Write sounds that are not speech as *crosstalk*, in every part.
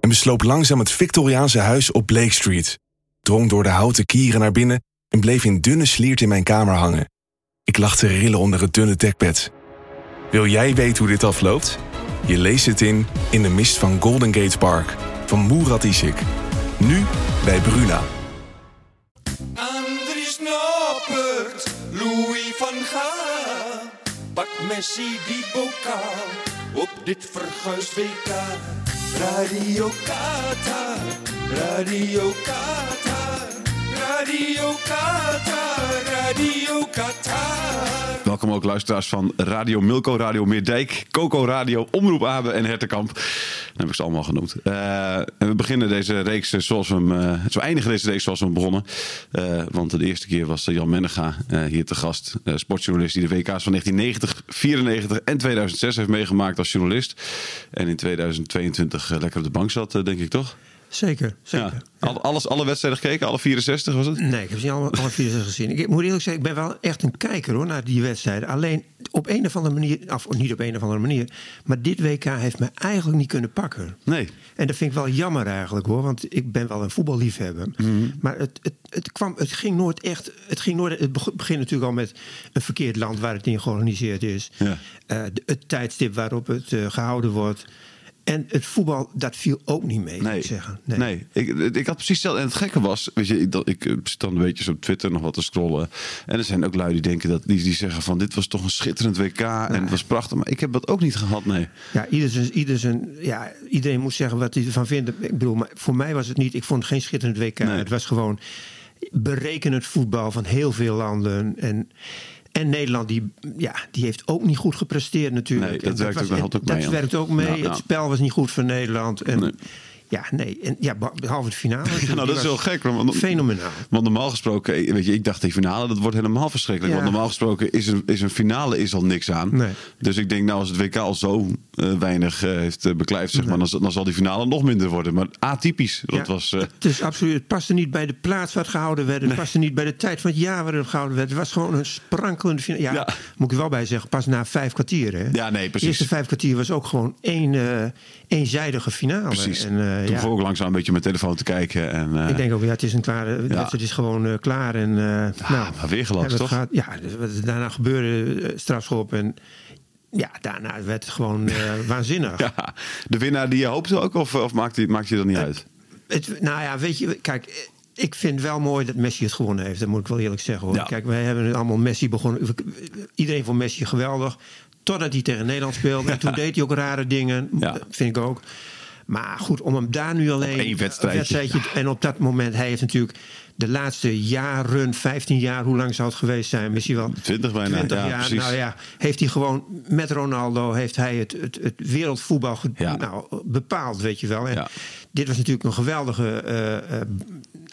en besloop langzaam het Victoriaanse huis op Blake Street. Drong door de houten kieren naar binnen en bleef in dunne sliert in mijn kamer hangen. Ik lag te rillen onder het dunne dekbed. Wil jij weten hoe dit afloopt? Je leest het in In de mist van Golden Gate Park van Murat Isik. Nu bij Bruna. Andries Noppert, Louis van Gaal. Pak Messi die bokaal op dit verguisd WK. Radio Qatar, Radio Qatar, Radio Qatar, Radio Qatar. Welkom ook luisteraars van Radio Milko, Radio Meerdijk, Coco Radio, Omroep Abe en Hertenkamp. Dat heb ik ze allemaal genoemd. Eh, en we beginnen deze reeks eh, zoals we, hem, eh, we eindigen deze reeks zoals we hem begonnen. Eh, want de eerste keer was eh, Jan Mennega eh, hier te gast. eh, sportjournalist die de WK's van 1990, 94 en 2006 heeft meegemaakt als journalist. En in 2022 eh, lekker op de bank zat, eh, denk ik toch? Zeker, zeker. Ja. Al- alles, alle wedstrijden gekeken, alle 64 was het? Nee, ik heb ze niet alle, alle vier *laughs* zes gezien. Ik moet eerlijk zeggen, ik ben wel echt een kijker hoor, naar die wedstrijden. Alleen op een of andere manier, of niet op een of andere manier, maar dit WK heeft me eigenlijk niet kunnen pakken. Nee. En dat vind ik wel jammer eigenlijk hoor, want ik ben wel een voetballiefhebber. Mhm. Maar het, het, het, kwam, het ging nooit echt. Het, ging nooit, het beg- begint natuurlijk al met een verkeerd land waar het in georganiseerd is. Ja. Eh, de- het tijdstip waarop het eh, gehouden wordt. En het voetbal, dat viel ook niet mee, moet ik zeggen. Nee, Ik, ik had precies hetzelfde. En het gekke was, weet je, ik, dat, ik eh, zit dan een beetje zo op Twitter nog wat te scrollen. En er zijn ook lui die denken dat die, die zeggen van dit was toch een schitterend WK en het was prachtig. Maar ik heb dat ook niet gehad, nee. Ja, ieder zijn, ieder zijn, ja, iedereen moet zeggen wat hij ervan vindt. Ik bedoel, maar voor mij was het niet. Ik vond het geen schitterend WK. Nee. Het was gewoon berekenend voetbal van heel veel landen. En, en Nederland, die, ja, die heeft ook niet goed gepresteerd natuurlijk. Nee, dat En werkt ook- was- helpt ook dat mee, ja. werkt ook mee. Ja, ja. Het spel was niet goed voor Nederland. En, Nee. Ja, nee. En, ja, beh- behalve de finale. *laughs* Ja, nou, Die dat is was heel gek. Want, Fenomenaal. Want normaal gesproken, eh, weet je, ik dacht die finale, dat wordt helemaal verschrikkelijk. Ja. Want normaal gesproken is een, is een finale is al niks aan. Nee. Dus ik denk, nou, als het WK al zo eh, weinig eh, heeft eh, beklijft, zeg maar, dan, zal- dan zal die finale nog minder worden. Maar atypisch, dat Ja, was... eh, het, is Dus absoluut, het paste niet bij de plaats waar het gehouden werd. Het paste niet bij de tijd van het jaar waar het gehouden werd. Het was gewoon een sprankelende finale. Ja, Ja. moet ik er wel bij zeggen, pas na vijf kwartier. Hè? Ja, nee, precies. De eerste vijf kwartier was ook gewoon één, eh, eenzijdige finale. Precies. En, eh, Toen ja, begon ik langzaam een beetje op mijn telefoon te kijken. En, eh, ik denk ook, ja, het is, een klare, de wedstrijd is gewoon eh, klaar. En, eh, nou, maar weer gelast, hebben we het toch? gehad. ja, dus wat er daarna gebeurde, eh, strafschop. En ja, daarna werd het gewoon eh, *laughs* waanzinnig. Ja, de winnaar die je hoopte ook, of, of maakt, die, maakt je dat niet Eh, uit? Het, nou ja, weet je, kijk, eh, ik vind wel mooi dat Messi het gewonnen heeft. Dat moet ik wel eerlijk zeggen hoor. Ja. Kijk, wij hebben nu allemaal Messi begonnen. Iedereen vond Messi geweldig. Totdat hij tegen Nederland speelde. En *laughs* toen deed hij ook rare dingen. Ja. Vind ik ook. Maar goed, om hem daar nu alleen. één wedstrijdje. En op dat moment, hij heeft natuurlijk de laatste jaren, 15 jaar, hoe lang zou het geweest zijn? Misschien wel 20 bijna, ja, jaar. precies. Nou ja, heeft hij gewoon met Ronaldo heeft hij het, het, het wereldvoetbal ge- Ja. nou, bepaald, weet je wel. En Ja. Dit was natuurlijk een geweldige eh, eh,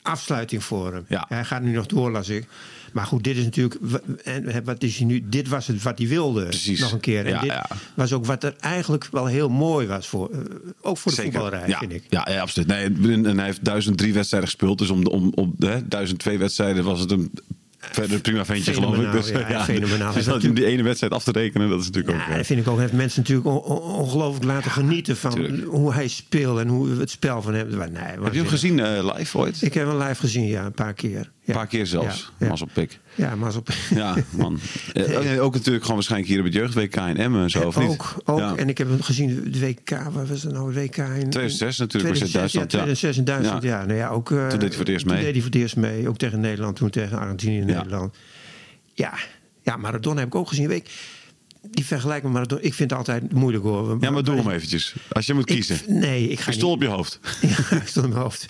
afsluiting voor hem. Ja. Hij gaat nu nog door, las ik. Maar goed, dit is natuurlijk. wa- En wat is hij nu? Dit was het wat hij wilde. Precies. Nog een keer. En Ja, dit ja. was ook wat er eigenlijk wel heel mooi was voor. eh, ook voor de voetballerij, ja, vind ik. Ja, ja, absoluut. Nee, en- en hij heeft 1003 wedstrijden gespeeld. Dus om, de- om, om hè, 1002 wedstrijden was het een verder prima ventje, geloof ik. Fenomenaal, Dus, *laughs* ja, fenomenaal. Dus dat om die ene wedstrijd af te rekenen, dat is natuurlijk ook... Ja, eh, dat vind ik ook. Hij heeft mensen natuurlijk on- on- ongelooflijk laten genieten van tuurlijk. hoe hij speelt en hoe het spel van hem. Nee, heb je hem gezien eh, live ooit? Ik heb hem live gezien, ja, een paar keer. Ja. Een paar keer zelfs. Ja, ja. Mas op *laughs* pik. Ja, maar op. *laughs* Ja, man. Eh, oh, nee, ook natuurlijk gewoon waarschijnlijk hier op het jeugd-WK in Emmen en zo, of niet? ook, ook. Ja. En ik heb hem gezien, de WK, waar was het nou? WK in... in- 2006 natuurlijk, was het 2006, Duitsland, ja. Ja, 2006 in Duitsland, Ja. ja. Nou ja ook, eh, toen deed hij voor het eerst mee. deed hij voor het eerst mee, ook tegen Nederland, toen tegen Argentinië en Ja. Nederland. Ja, ja Maradona heb ik ook gezien. Ik, die vergelijking met Maradona, ik vind het altijd moeilijk hoor. Ja, maar doe hem eventjes. Als je moet kiezen. Ik, nee, ik ga Pistool niet. op je hoofd. Ja, *laughs* stond in mijn hoofd.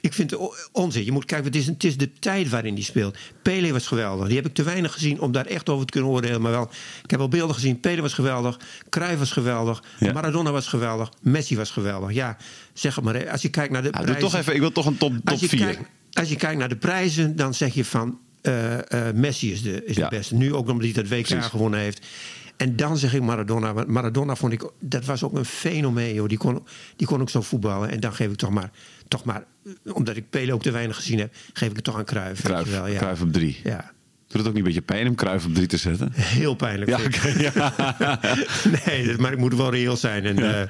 ik vind het o- onzin. Je moet kijken, het is, een- het is de tijd waarin die speelt. Pele was geweldig. Die heb ik te weinig gezien om daar echt over te kunnen oordelen. Maar wel, ik heb wel beelden gezien. Pele was geweldig. Cruijff was geweldig. Ja. Maradona was geweldig. Messi was geweldig. Ja, zeg het maar. hè. Als je kijkt naar de Ja, doe prijzen- toch even, ik wil toch een top, top als je, 4. kijkt, als je kijkt naar de prijzen, dan zeg je van eh, eh, Messi is de, is Ja. de beste. Nu ook omdat hij dat WK Precies. gewonnen heeft. En dan zeg ik Maradona. Want Maradona vond ik, dat was ook een fenomeen. Joh. Die, kon, die kon ook zo voetballen. En dan geef ik toch maar, toch maar eh, omdat ik Pele ook te weinig gezien heb, geef ik het toch aan Cruijff. weet Kruif, je wel, ja. Kruif op 3. Ja. Doet het ook niet een beetje pijn om Kruif op 3 te zetten? Heel pijnlijk. Ja, vind ik. oké. ja. *laughs* nee, dat- maar ik moet wel reëel zijn. En, ja.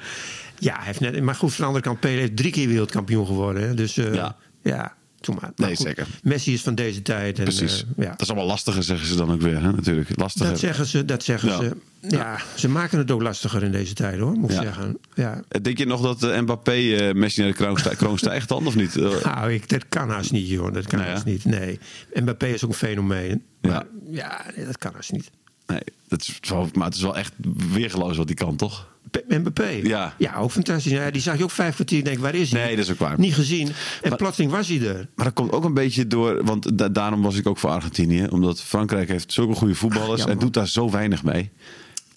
ja, hij heeft net, maar goed, van de andere kant, Pele heeft drie keer wereldkampioen geworden. hè. Dus eh, Ja. ja, toen maar. Maar Nee, goed, zeker. Messi is van deze tijd. En, Precies. eh, ja. Dat is allemaal lastiger, zeggen ze dan ook weer. Hè? Natuurlijk. Lastiger. Dat zeggen ze, dat zeggen Ja. ze. Ja, ze maken het ook lastiger in deze tijd hoor, moet ik Ja. zeggen. Ja. Eh, Denk je nog dat eh, Mbappé eh, Messi naar de kroon, stij- kroon stijgt dan, of niet? Eh, Nou, ik, dat kan haast niet joh, dat kan Nou ja. haast niet. Nee, Mbappé is ook een fenomeen. Ja. Maar ja, nee, dat kan haast niet. nee, dat is wel, maar het is wel echt weergeloos wat die kan, toch? P- Mbappé? Ja. ja, ook fantastisch. Ja, die zag je ook vijf kwartier. Denk, waar is hij? Nee, dat is ook waar. Niet gezien. En Maar- plotseling was hij er. Maar dat komt ook een beetje door, want da- daarom was ik ook voor Argentinië. Omdat Frankrijk heeft zulke goede voetballers Ach, en jammer. doet daar zo weinig mee.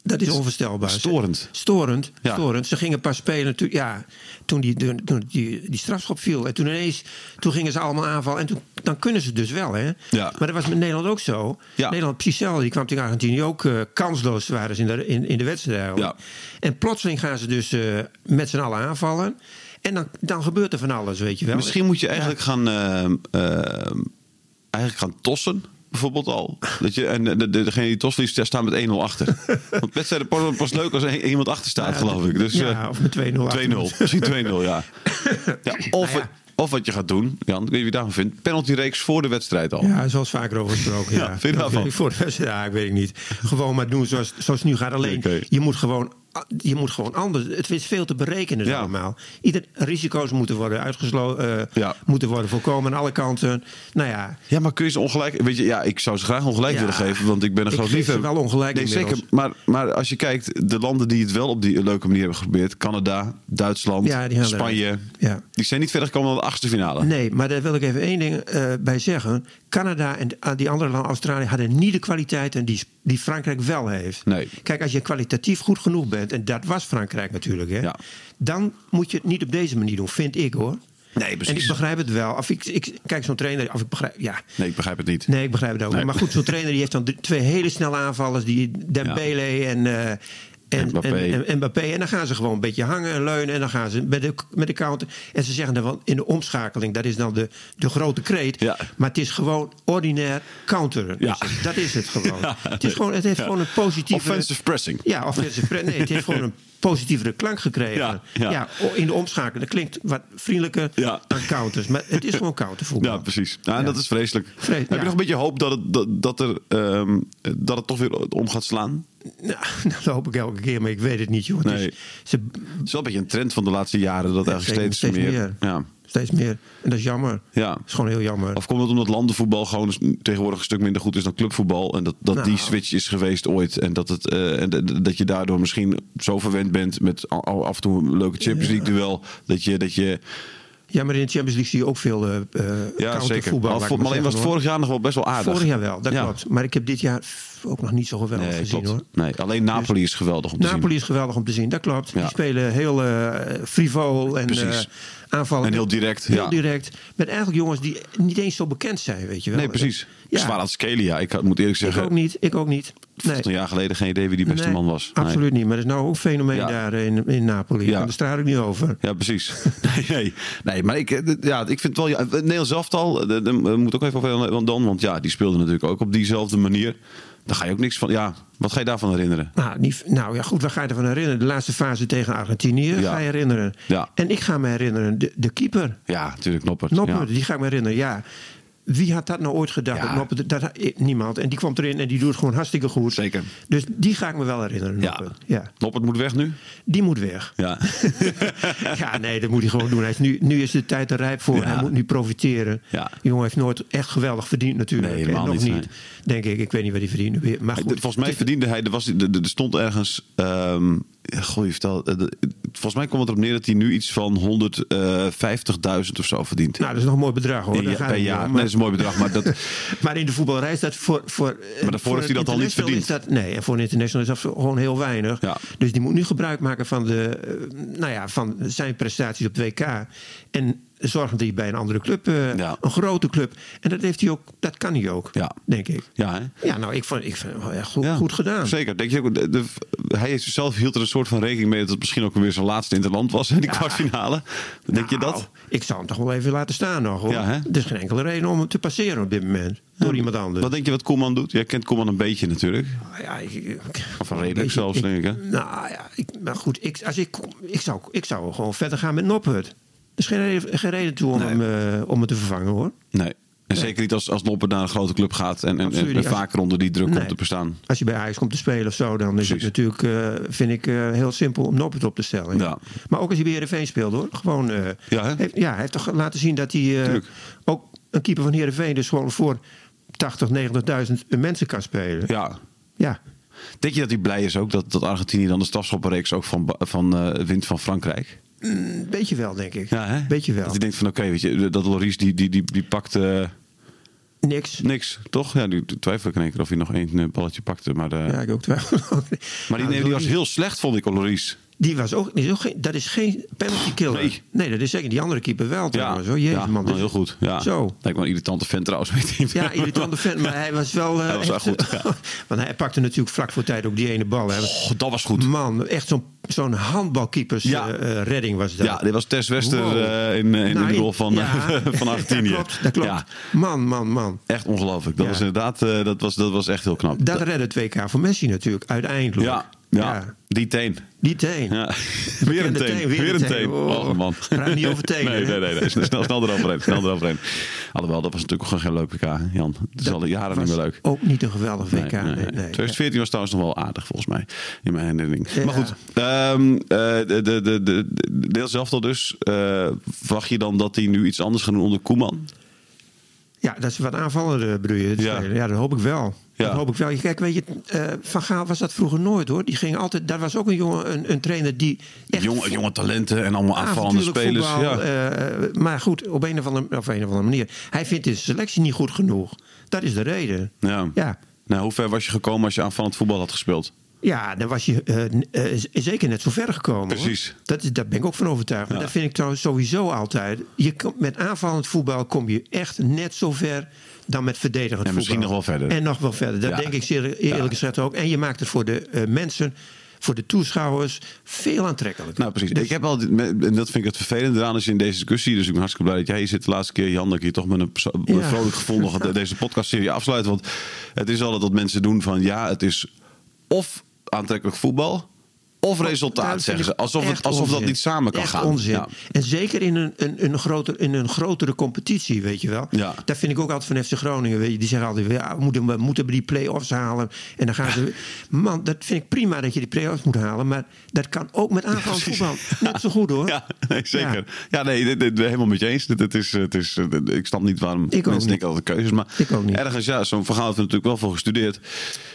Dat is onvoorstelbaar. Storend. Storend, Ja. storend. Ze gingen pas spelen toen, ja, toen, die, toen toen die, die strafschop viel. En toen ineens, toen gingen ze allemaal aanvallen. En toen, dan kunnen ze het dus wel, hè. Ja. Maar dat was met Nederland ook zo. Ja. Nederland precies hetzelfde. Die kwam tegen Argentinië ook eh, kansloos waren ze in de, in, in de wedstrijd. eigenlijk. Ja. En plotseling gaan ze dus eh, met z'n allen aanvallen. En dan, dan gebeurt er van alles, weet je wel. Misschien moet je eigenlijk gaan, ehm, ehm, eigenlijk gaan tossen. Bijvoorbeeld al. Dat je, en de, de, degene die tos liefst, daar staan met 1-0 *laughs* achter. Want wedstrijden pas, pas leuk als er iemand achter staat, Ja, geloof ik. Dus, ja, eh, of met 2-0 achter 2-0. Misschien 2-0, ja. ja, of, Nou ja. of wat je gaat doen, Jan, ik weet niet wie je daarvan vindt. Penalty-reeks voor de wedstrijd al. *laughs* Ja, er is wel eens vaker over gesproken. ja. Ja, vind je daarvan? *laughs* Voor de wedstrijd, ja, ik weet het niet. Gewoon maar doen zoals, zoals het nu gaat. Alleen, Oké. je, moet gewoon, je moet gewoon anders. Het is veel te berekenen Ja. allemaal. Ieder, risico's moeten worden uitgesloten, Ja. moeten worden voorkomen aan alle kanten. Nou ja, Ja, maar kun je ze ongelijk... Weet je, ja, ik zou ze graag ongelijk Ja. willen geven, want ik ben een Ik groot geef ze liefhebber. wel ongelijk Nee, zeker. inmiddels. Maar, maar als je kijkt, de landen die het wel op die leuke manier hebben geprobeerd... Canada, Duitsland, Ja, die gaan Spanje... eruit. Ja. Die zijn niet verder gekomen dan de achtste finale. nee, maar daar wil ik even één ding eh, bij zeggen. Canada en eh, die andere landen, Australië, hadden niet de kwaliteiten die, die Frankrijk wel heeft. Nee. Kijk, als je kwalitatief goed genoeg bent, en dat was Frankrijk natuurlijk, hè, Ja. dan moet je het niet op deze manier doen, vind ik hoor. Nee, precies. En ik begrijp het wel. Of ik, ik kijk zo'n trainer. Of ik begrijp, ja. Nee, ik begrijp het niet. Nee, ik begrijp het ook. Nee. Maar goed, zo'n trainer die heeft dan drie- twee hele snelle aanvallers. Die Dembele en, eh, en, Mbappé. en, en Mbappé. En dan gaan ze gewoon een beetje hangen en leunen. En dan gaan ze met de, met de counter. En ze zeggen dan wel in de omschakeling. Dat is dan de, de grote kreet. Ja. Maar het is gewoon ordinair counteren. Ja. Dus dat is het gewoon. *laughs* Ja. Het, is gewoon het heeft Ja. gewoon een positieve... Offensive pressing. Ja, offensive pressing. Nee, het heeft gewoon een positievere klank gekregen. Ja, ja. o- in de omschakeling. Dat klinkt wat vriendelijker Ja. dan counters. Maar het is gewoon countervoetbal. Ja, precies. Nou, en Ja. dat is vreselijk. Vres- Heb ja. je nog een beetje hoop dat het, dat, dat er, ehm, dat het toch weer om gaat slaan? Nou, *laughs* dat hoop ik elke keer, maar ik weet het niet, joh. Het Nee. is- ze, Het is wel een beetje een trend van de laatste jaren. Dat eigenlijk steeds- steeds, steeds meer... meer. Ja. steeds meer. En dat is jammer. Ja. Dat is gewoon heel jammer. Of komt het omdat landenvoetbal gewoon tegenwoordig een stuk minder goed is dan clubvoetbal? En dat, dat Nou. die switch is geweest ooit. En dat, het, eh, en d- d- dat je daardoor misschien zo verwend bent met a- a- af en toe een leuke Champions League duel. Dat je, dat je ja, maar in de Champions League zie je ook veel eh eh, ja, zeker. countervoetbal. Al- laat ik voor- Maar alleen was zeggen, het hoor. vorig jaar nog wel best wel aardig. Vorig jaar wel, dat Ja. klopt. Maar ik heb dit jaar ook nog niet zo geweldig Nee, gezien, klopt. hoor. nee, alleen Napoli is geweldig om te Napoli is geweldig om te zien, dat klopt. Ja. Die spelen heel eh frivol en eh Precies. aanvallend. En heel direct, Heel ja. direct. Met eigenlijk jongens die niet eens zo bekend zijn, weet je wel. eh, zien. Nee, precies. Ja, Zwaar aan het schelen, ja. Ik had- moet eerlijk ik zeggen, ook niet, ik ook niet. Nee. tot een jaar geleden geen idee wie die beste Nee, man was. Nee. Absoluut niet. Maar er is nou ook een fenomeen Ja. daar in, in Napoli. Ja. En daar straal ik niet over. Ja, *laughs* precies. Nee, nee. nee maar ik, eh, d- ja, ik vind het wel... Ja, het Nederlands elftal, eh, d- daar moet ook even over dan. Want ja, die speelde natuurlijk ook op diezelfde manier. Daar ga je ook niks van... Ja, wat ga je daarvan herinneren? Nou, die, nou ja, goed, waar ga je ervan herinneren? De laatste fase tegen Argentinië Ja. ga je herinneren. Ja. En ik ga me herinneren, de, de keeper, Ja, natuurlijk Noppert. Noppert, Ja. die ga ik me herinneren. Ja, Wie had dat nou ooit gedacht? Ja. Dat Noppert- dat, eh, niemand. En die kwam erin en die doet het gewoon hartstikke goed. Zeker. Dus die ga ik me wel herinneren. Ja. Noppert. ja. Noppert moet weg nu. Die moet weg. Ja. *laughs* ja, nee, dat moet hij gewoon doen. Hij is nu, nu is de tijd er rijp voor. Ja. Hij moet nu profiteren. Ja. Die jongen heeft nooit echt geweldig verdiend natuurlijk. Nee, helemaal En nog niet, niet. Denk ik. Ik weet niet wat hij verdiende. weer. Maar Hij- goed, Ah, Volgens mij het- verdiende hij, er, was, er, er- er stond ergens, ehm goh, je vertelt, eh, de- volgens mij komt het erop neer dat hij nu iets van 150.000 of zo verdient. Nou, dat is nog een mooi bedrag hoor. Ja, Daar gaat per het jaar. om. Nee, Maar, dat is een mooi bedrag, maar dat, *laughs* maar in de voetbalreis dat voor. voor eh, Maar daarvoor voor heeft hij een dat al niet international verdiend. is dat, nee, en voor een international is dat gewoon heel weinig. Ja. Dus die moet nu gebruik maken van, de, eh, nou ja, van zijn prestaties op 2K. En zorgen dat hij bij een andere club, eh, Ja. een grote club. En dat, heeft hij ook, dat kan hij ook, Ja. denk ik. ja, hè? Ja, nou, ik vond, ik vond hem wel echt goed, Ja, goed gedaan. Zeker. Denk je, ook- de, de- hij is zelf hield er een soort van rekening mee dat het misschien ook weer zijn laatste interland was in die kwartfinale. Denk je Nou, dat? Ik zou hem toch wel even laten staan nog, hoor. Ja, hè? Er is geen enkele reden om hem te passeren op dit moment. Door iemand anders. Wat denk je wat Koeman doet? Jij kent Koeman een beetje natuurlijk. Nou ja, ik, ik- Of redelijk ik- zelfs, denk ik, hè? Nou ja, ik, maar goed, ik, als ik, ik, zou, ik zou gewoon verder gaan met Noppert. Er is geen reden, geen reden toe om, Nee. hem, eh, om hem te vervangen, hoor. Nee. En zeker niet als, als Noppen naar een grote club gaat en, en, en, Absoluut niet. Als- vaker onder die druk Nee. komt te bestaan. Als je bij Ajax komt te spelen of zo, dan is het Precies. natuurlijk, eh, vind ik, eh, heel simpel om Noppert op te stellen. Ja. Maar ook als hij bij Heerenveen speelde, hoor. Gewoon, eh, Ja, hè? heeft, ja, hij heeft toch laten zien dat hij eh, Tuurlijk. ook een keeper van Heerenveen dus gewoon voor 80, 90.000 mensen kan spelen. Ja. ja. Denk je dat hij blij is ook dat, dat Argentinië dan de strafschoppenreeks ook van, ba- van eh, wint van Frankrijk? Een Mm, beetje wel, denk ik. Ja, hè? Beetje wel. Dat hij denkt van oké, weet je, dat Loris die, die, die, die pakt eh, Niks. niks, toch? Ja, nu twijfel ik in één keer of hij nog één eh, balletje pakte. Maar, de, Ja, ik ook *laughs* twijfel. maar die, Nou, nee, die was Loris- heel slecht, vond ik, Loris. Die was ook, die is ook geen, dat is geen penalty killer. Nee. Nee. dat is zeker. Die andere keeper wel trouwens. hoor. Jezus, ja, man. wel Dus- heel goed. Ja. Zo. Lijkt me een irritante vent trouwens. Weet niet. Ja, irritante fan, maar *laughs* hij was wel... eh, Hij was wel echt- goed, ja. *laughs* Want hij pakte natuurlijk vlak voor tijd ook die ene bal. Hè. Oh, dat was goed. Man, echt zo'n zo'n handbalkeepers Ja. eh, eh, redding was dat. Ja, dit was Tess Wester Wow. eh, in, eh, in Nou, de rol *laughs* van, ja. van Argentinië. dat klopt, dat klopt. Ja, Man, man, man. echt ongelooflijk. Dat Ja. was inderdaad eh, dat was, dat was echt heel knap. Dat redde 2K voor Messi natuurlijk, uiteindelijk. ja, ja, die teen. Die teen. Ja. *laughs* Weer een Bekende teen, teen, weer een teen. Oh. Oh man. Praat niet over *laughs* tenen, Nee, hè? nee, nee. nee. Snel, snel eroverheen. Snel eroverheen. Alhoewel, dat was natuurlijk gewoon geen leuk WK, hè, Jan. Het is al de jaren niet was meer leuk. Ook niet een geweldig WK. Nee, nee, 2014 was trouwens nog wel aardig volgens mij. In mijn herinnering. Ja. Maar goed. ehm, eh, de, de, de, de, de deel zelf al dus. eh, wacht je dan dat hij nu iets anders gaat doen onder Koeman? Ja, dat ze wat aanvallen bedoel je? Ja. Ja. ja, dat hoop ik wel. Ja. Dat hoop ik wel. Je- Kijk, weet je, eh, Van Gaal was dat vroeger nooit hoor. Die ging altijd, daar was ook een jongen, een, een trainer die echt Jonge, jonge talenten en allemaal aanvallende avontuurlijk spelers. voetbal, ja. eh, maar goed, op een, of andere, op een of andere manier. Hij vindt de selectie niet goed genoeg. Dat is de reden. ja. Ja, Nou, hoe ver was je gekomen als je aanvallend voetbal had gespeeld? ja dan was je eh, n- eh, z- zeker net zo ver gekomen. hoor. Precies. Dat, is- daar ben ik ook van overtuigd. Maar Ja. dat vind ik trouwens sowieso altijd. Je komt, met aanvallend voetbal kom je echt net zo ver dan met verdedigend En voetbal. misschien nog wel verder. En nog wel verder. Dat Ja. denk ik zeer, eerlijk Ja. gezegd ook. En je maakt het voor de eh, mensen, voor de toeschouwers, veel aantrekkelijker. Nou, precies. Dus- Ik heb al, en dat vind ik het vervelende eraan als je in deze discussie. Dus ik ben hartstikke blij dat jij hier zit de laatste keer, Jan. Dat ik hier toch met een perso- Ja. vrolijk gevoel nog *laughs* de- deze podcastserie afsluit. Want het is altijd dat mensen doen van ja, het is of aantrekkelijk voetbal. Of Daar resultaat, vind zeggen ze. ik Alsof, het, echt alsof dat onzin. niet samen kan Echt gaan. onzin. Ja. En zeker in een, een, een, groter, in een grotere competitie, weet je wel. Ja. Dat vind ik ook altijd van FC Groningen. Weet je, die zeggen altijd, ja, we, moeten, we moeten die play-offs halen. En dan gaan *laughs* ze... Man, dat vind ik prima dat je die play-offs moet halen. Maar dat kan ook met aanval Precies. voetbal. Net zo goed, hoor. *laughs* Ja, nee, zeker. Ja, nee, dit, dit- helemaal met je eens. Dit, dit is, het is, eh, ik snap niet waarom ook mensen niet. denken altijd keuzes. Maar Ik ook niet. ergens, ja, zo'n verhaal heeft er natuurlijk wel voor gestudeerd.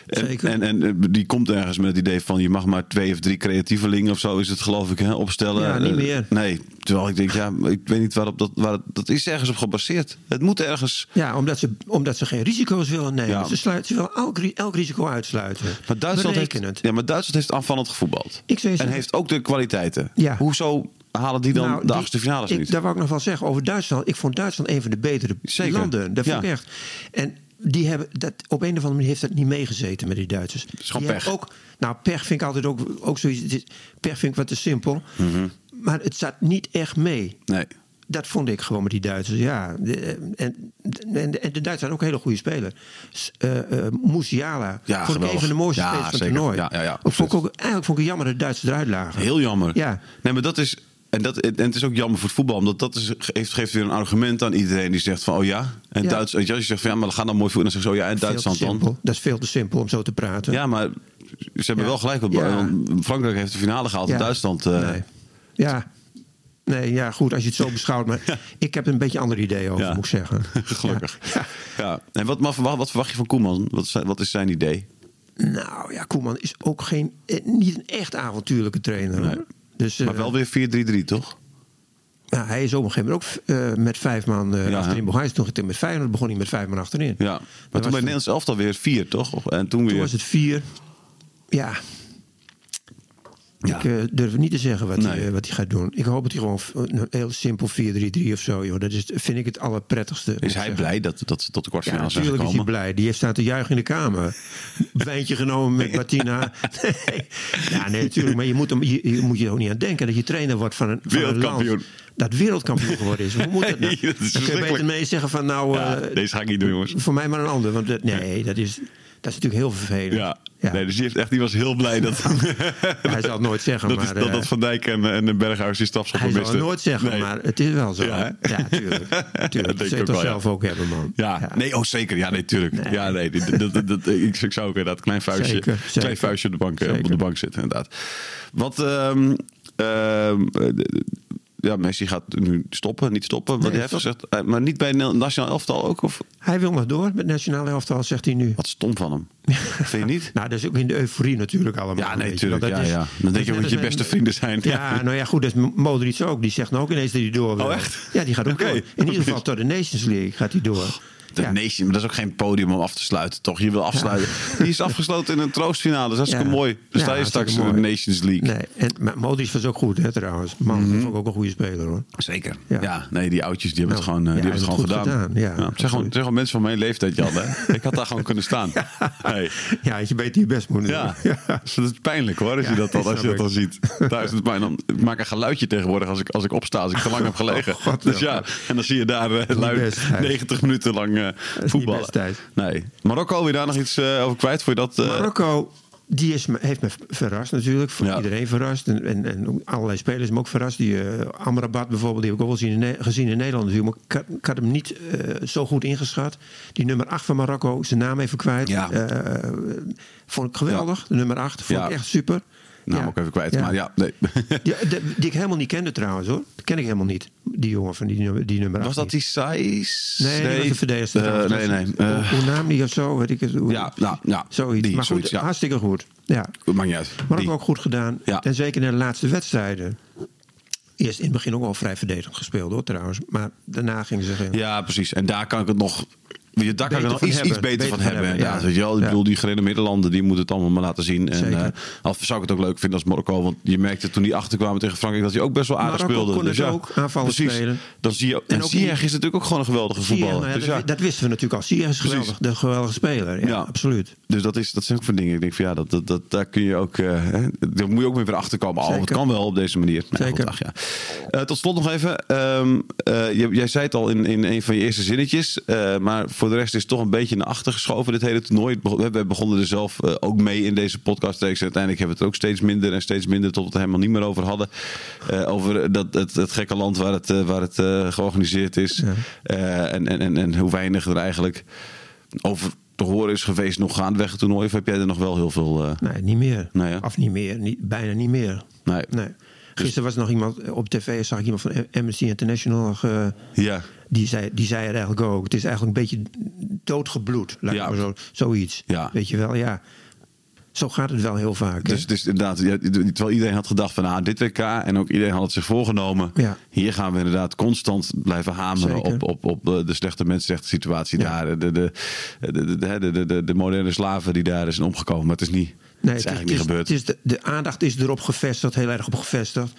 En, Zeker. En, en eh, die komt ergens met het idee van je mag maar twee of drie creatievelingen of zo is het geloof ik hè, opstellen. Ja, niet Eh, meer. nee, terwijl ik denk, ja, maar ik weet niet waarop dat, waar, dat is ergens op gebaseerd. Het moet ergens... Ja, omdat ze, omdat ze geen risico's willen nemen. Ja. Ze, sluiten, ze willen elk, ri- elk risico uitsluiten. Maar Duitsland, heeft, Berekenen het. ja, maar Duitsland heeft aanvallend gevoetbald. Ik zou je en zeggen- heeft ook de kwaliteiten. Ja. Hoezo halen die dan Nou, de die- achtste finales ik, niet? Daar wou ik nog wel zeggen over Duitsland. Ik vond Duitsland een van de betere Zeker, landen. Dat vind ja. ik echt. En die hebben dat, op een of andere manier heeft dat niet meegezeten met die Duitsers. is gewoon Die hebben pech. Ook, nou, pech vind ik altijd ook, ook zoiets. het is- Pech vind ik wat te simpel. Mhm. Maar het zat niet echt mee. Nee. Dat vond ik gewoon met die Duitsers, ja. De- en, en, en de Duitsers zijn ook hele goede spelers. S- eh, eh, Musiala. Ja, vond ik geweldig. een van de mooiste Ja, spelers van het zeker. toernooi. Ja, ja, ja, Ook vond ik ook, eigenlijk vond ik het jammer dat de Duitsers eruit lagen. Heel jammer. Ja. Nee, maar dat is. En, dat, en het is ook jammer voor het voetbal, omdat dat is, geeft, geeft weer een argument aan iedereen die zegt van, oh ja. En Ja. Duits, weet je, als je zegt van, ja, maar dan gaan dan mooi voetballen. Dan zeggen ze, oh ja, en Veel te Duitsland dan. simpel. Dat is veel te simpel om zo te praten. Ja, maar ze hebben Ja. wel gelijk. Want Ja. want Frankrijk heeft de finale gehaald en Ja. Duitsland... eh, Nee. Ja. Nee, ja, goed, als je het zo beschouwt. *laughs* Maar ik heb er een beetje een ander idee over, Ja. moet ik *laughs* zeggen. Gelukkig. Ja. Ja. En wat, maar verwacht- wat verwacht je van Koeman? Wat is, zijn- wat is zijn idee? Nou ja, Koeman is ook geen, eh, niet een echt avontuurlijke trainer. hoor. Nee. Dus, maar eh, wel weer 4-3-3, toch? nou, hij is op een gegeven moment ook eh, met vijf man eh, Ja, hè? achterin begonnen. Hij is toen getraind met vijf, maar begon hij met vijf man achterin. Ja. Maar toen bij was het- Nederlands elftal weer 4, toch? Of- En toen weer... Toen was het vier. Ja. Ja. Ik eh, durf niet te zeggen wat, hij, Nee. eh, wat hij gaat doen. Ik hoop dat hij gewoon v- een heel simpel 4-3-3 of zo. Joh. Dat is, vind ik het allerprettigste. moet Is ik hij zeggen. blij dat, dat ze tot de Ja, kwartfinale zijn natuurlijk is hij gekomen? blij. Die heeft staan te juichen in de kamer. *laughs* Wijntje genomen met Martina. Nee. Ja, nee, natuurlijk. Maar je moet, hem, je, je moet je er ook niet aan denken dat je trainer wordt van een, van een Wereldkampioen. land dat wereldkampioen geworden is. Hoe *laughs* moet dat nou? Nee, dat is Dan kun je verschrikkelijk. beter mee zeggen van nou, Ja, eh, deze ga ik niet doen, jongens. voor mij maar een ander. Want dat, nee, dat is, dat is natuurlijk heel vervelend. Ja. Nee, dus die, heeft echt, die was heel blij dat... *laughs* Hij zal het nooit zeggen, dat, maar... is, dat, eh, dat Van Dijk en, en de Berghuis die stapsel hij zal het nooit zeggen, Nee. maar het is wel zo. Ja, Ja, hè? *laughs* tuurlijk. Dat tuurlijk. Dat denk zul ik je ook toch wel, ja. zelf ook hebben, man. Ja. nee, oh zeker. Ja, nee, tuurlijk. Ja, nee, dit- dat, dat, dat- ik, ik zou ook inderdaad een klein vuistje, Zeker, Klein zeker. vuistje op de bank, eh, op de Zeker. bank zitten, inderdaad. Wat, ehm, ehm, eh, ja, Messi gaat nu stoppen, niet stoppen. Wat hij heeft stop. gezegd, eh, maar niet bij het Nationaal Elftal ook? Of? Hij wil nog door met nationale elftal, zegt hij nu. Wat stom van hem. Vind je niet? *laughs* Nou, dat is ook in de euforie natuurlijk allemaal. Ja, nee, weet je, tuurlijk. want Ja, dat is- ja. Dan dat denk is je ook net dat je als beste met- vrienden zijn. Ja, *laughs* nou ja, goed, dat is Modric ook. Die zegt nou ook ineens dat hij door wil. Oh, echt? Ja, die gaat ook Oké. Oh, door. In ieder geval tot de Nations League gaat hij door. De ja. Nation, maar dat is ook geen podium om af te sluiten, toch? Je wil afsluiten. Die is afgesloten in een troostfinale. Dat is hartstikke Ja. mooi. Dus Ja, sta je straks in hartstikke de mooi. Nations League. Mhm. Nee, en, maar Modric was ook goed, hè, trouwens. Man, dat vond ik ook een goede speler, hoor. Zeker. Ja. Ja. nee, die oudjes die hebben Nou, het gewoon, eh, ja, die hebben het hij gewoon heeft het gedaan. goed gedaan, ja. het zijn gewoon, het zijn gewoon mensen van mijn leeftijd, Jan. *laughs* Hè? Ik had daar gewoon kunnen staan. Hey. Ja, had je beter je best moeten doen. *laughs* Ja. Dus dat is pijnlijk hoor, als je Ja, dat dan, als je dat snap dan ziet. Daar is het pijn. Dan, ik maak een geluidje tegenwoordig als ik, als ik opsta, als ik te lang heb gelegen. *laughs* Oh, God, dus ja. ja, en dan zie je daar eh, niet lui- best, hè. 90 minuten lang eh, niet voetballen. best, Thijs. nee. Marokko, wil je daar nog iets eh, over kwijt? Voor dat, eh, Marokko, die is, me- heeft me verrast natuurlijk. Voor Ja. Iedereen verrast. En, en, en ook allerlei spelers me ook verrast. Die eh, Amrabat bijvoorbeeld, die heb ik ook wel zien in Ne- gezien in Nederland natuurlijk. Maar ik had, ik had hem niet eh, zo goed ingeschat. Die nummer 8 van Marokko, zijn naam even kwijt. Ja. Eh, vond ik geweldig. De nummer 8 vond Ja. ik echt super. Nou, Ja. ook even kwijt, maar ja, nee. Die, eh, de- die ik helemaal niet kende trouwens hoor. Die ken ik helemaal niet. Die jongen van die nummer, die nummer 8. *laughs* Was dat die Saiz? Nee, nee, die was de verdedigster. Eh, trouwens. nee, nee. Hoe- eh, hoe naam die of zo, weet ik het. hoe- Ja, nou, ja, zoiets. die, maar goed, zoiets, ja. hartstikke goed. Ja. Eh, maakt niet uit. Maar Die. ook goed gedaan. Ja. En zeker in de laatste wedstrijden. Eerst in het begin ook al vrij verdedigend gespeeld hoor trouwens. Maar daarna gingen ze... geen- Ja, precies. En daar kan ik het nog. weet je, Daar kan ik Beter het nog van iets, hebben. iets beter, Beter van van hebben. hebben, inderdaad. ja. Weet je wel? Ik Ja. bedoel, die gerenommeerde landen die moeten het allemaal maar laten zien. En, Zeker. eh, al zou ik het ook leuk vinden als Marokko. Want je merkte toen die achterkwamen tegen Frankrijk dat hij ook best wel aardig Marokko speelde. kon dus het ja, ook, aanvallen precies. spelen. Dan zie je, en En ook Ziyech niet- is natuurlijk ook gewoon een geweldige Ziyech, voetballer. nou ja, dus, ja. dat, dat wisten we natuurlijk al. Ziyech is geweldig, de geweldige speler. Ja, Ja. absoluut. dus dat, is, dat zijn ook van dingen. Ik denk van ja, dat, dat, dat, daar kun je ook. eh, hè, daar moet je ook weer weer achter komen. Oh, het Zeker. kan wel op deze manier. Nou, Zeker. goed, ach ja. Eh, tot slot nog even. ehm, eh, jij, jij zei het al in, in een van je eerste zinnetjes. eh, maar voor de rest is het toch een beetje naar achter geschoven. Dit hele toernooi. Het begon- We we begonnen er zelf eh, ook mee in deze podcast. En uiteindelijk hebben we het ook steeds minder en steeds minder. Tot we het er helemaal niet meer over hadden. Eh, over dat, het, het gekke land waar het, eh, waar het eh, georganiseerd is. Eh, en, en, en, en hoe weinig er eigenlijk over te horen is geweest. Nog gaandeweg het toernooi. Of heb jij er nog wel heel veel. eh, Nee, niet meer. Nee, hè? Of niet meer. Niet, bijna niet meer. Nee. Dus- Gisteren was er nog iemand op tv, zag ik iemand van Amnesty International. nog, eh, Ja. die, zei, die zei het eigenlijk ook. Het is eigenlijk een beetje doodgebloed. Laat ik Ja. maar zo, zoiets. Ja. Weet je wel, ja. Zo gaat het wel heel vaak. hè? Dus, dus inderdaad, ja, terwijl iedereen had gedacht van ah, dit WK en ook iedereen had het zich voorgenomen. Ja. Hier gaan we inderdaad constant blijven hameren Zeker. op, op, op eh, de slechte mensenrechten situatie Ja. daar. De, de, de, de, de, de, de- de, de moderne slaven die daar zijn omgekomen. Maar het is niet, het is eigenlijk niet gebeurd. het is de, de aandacht is erop gevestigd, heel erg op gevestigd.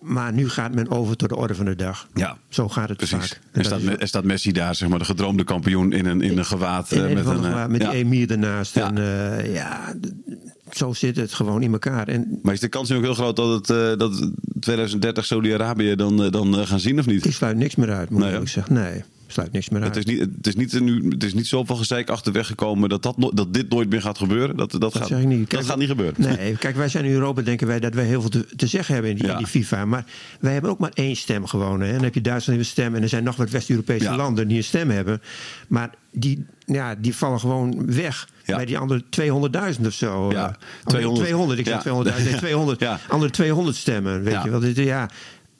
Maar nu gaat men over tot de orde van de dag. Ja. Zo gaat het Precies. vaak. Er staat, er staat Messi daar, zeg maar, de gedroomde kampioen in een, in een gewaad. eh, en met, eh, met ja. die emir ernaast. Ja. En, eh, ja, d- zo zit het gewoon in elkaar. En Maar is de kans nu ook heel groot dat, het, eh, dat 2030 Saudi-Arabië dan, eh, dan eh, gaan zien of niet? ik sluit niks meer uit, moet Nee, ik hè? ik zeggen. Nee. sluit niks meer uit. Het is niet, het is niet, nu, het is niet zoveel gezeik achterweg gekomen dat, dat, no- dat dit nooit meer gaat gebeuren. Dat, dat, Dat gaat, zeg ik niet. dat Kijk, gaat niet gebeuren. Nee, kijk, wij zijn in Europa, denken wij dat wij heel veel te, te zeggen hebben in die, Ja. in die FIFA. Maar wij hebben ook maar één stem gewoon. Hè. En dan heb je Duitsland die een stem. En er zijn nog wat West-Europese Ja. landen die een stem hebben. Maar die, ja, die vallen gewoon weg. Ja. Bij die andere 200.000 of zo. Ja, Eh, 200. 200, ik Ja. zeg 200.000. *laughs* Nee, 200. Ja. Andere 200 stemmen, weet Ja. je wel. Dit, ja,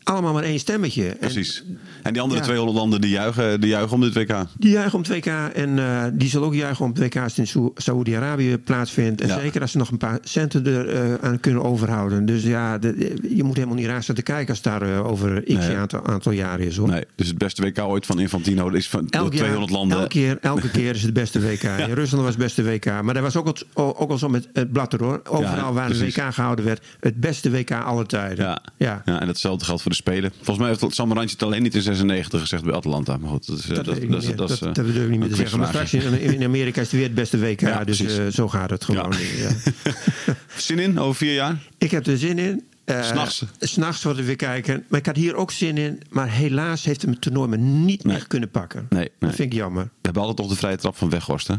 allemaal maar één stemmetje. En Precies. En die andere Ja. 200 landen die juichen, die juichen om dit WK. die juichen om 2K en eh, die zal ook juichen om 2K als het in Saoe- Saoedi-Arabië plaatsvindt. En Ja. zeker als ze nog een paar centen er eh, aan kunnen overhouden. Dus ja, de- je moet helemaal niet raar staan te kijken als daar eh, over x Nee. aantal, aantal jaren is hoor. Nee, dus het beste WK ooit van Infantino is van door Elk jaar, 200 landen. Elke keer, elke keer is het beste *laughs* WK. In Rusland was het beste WK. Maar dat was ook, het, ook al zo met het blatter hoor. Overal Ja, waar precies. een WK gehouden werd. Het beste WK aller tijden. Ja. Ja. en datzelfde geldt voor de Spelen. Volgens mij heeft Samaranch het alleen niet in 96 gezegd bij Atalanta. Maar goed, dat is... eh, Dat, weet ik is- niet meer. is, dat, eh, dat bedoel ik niet meer een te zeggen. Maar straks quizvraagje. in, in Amerika is het weer het beste *laughs* WK. Ja, dus precies. eh, zo gaat het gewoon. Ja. Zin in over vier jaar? Ik heb er zin in. Eh, S'nachts. S'nachts worden we weer kijken. Maar ik had hier ook zin in. Maar helaas heeft hem het toernooi me niet Nee. meer kunnen pakken. Nee, nee. Dat vind ik jammer. We hebben altijd nog de vrije trap van Weghorst, hè?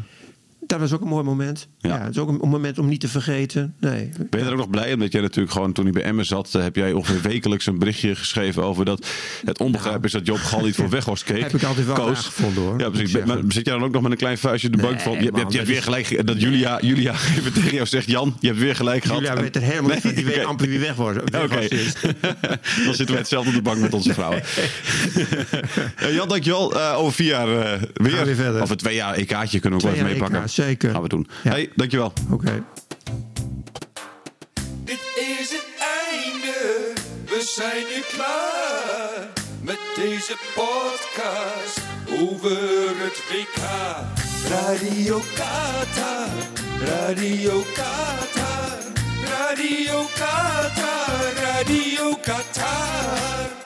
Dat was ook een mooi moment. Ja. Ja. het is ook een, een moment om niet te vergeten. Nee. Ben je er ook nog blij? Omdat jij natuurlijk gewoon toen hij bij Emmen zat, eh, heb jij ongeveer wekelijks een berichtje geschreven over dat het onbegrijp is dat Job Gal niet voor Weghorst keek. Heb ik altijd wel Koos. raar gevonden, hoor. Ja, precies. Moet ik Maar zeggen. zit jij dan ook nog met een klein vuistje in de bank van? Je, hebt- je, man, hebt- je hebt dat weer gelijk dat Julia, Julia even tegen jou zegt, Jan, je hebt weer gelijk gehad. Julia En- weet er helemaal niet van. Die weet oké. amper wie weg *laughs* was. Ja, weg Oké, was is. *laughs* dan zitten we hetzelfde op de bank met onze vrouwen. *laughs* Eh, Jan, dankjewel. Eh, over vier jaar eh, weer. Gaan we weer verder. Over twee jaar EK'tje kunnen we Twee ook wel even jaar EK, meepakken. zeker. Gaan we doen. Ja. Hey, dankjewel. Oké. Dit is het einde, we zijn nu klaar met deze podcast over het WK. Radio Qatar, Radio Qatar, Radio Qatar, Radio Qatar.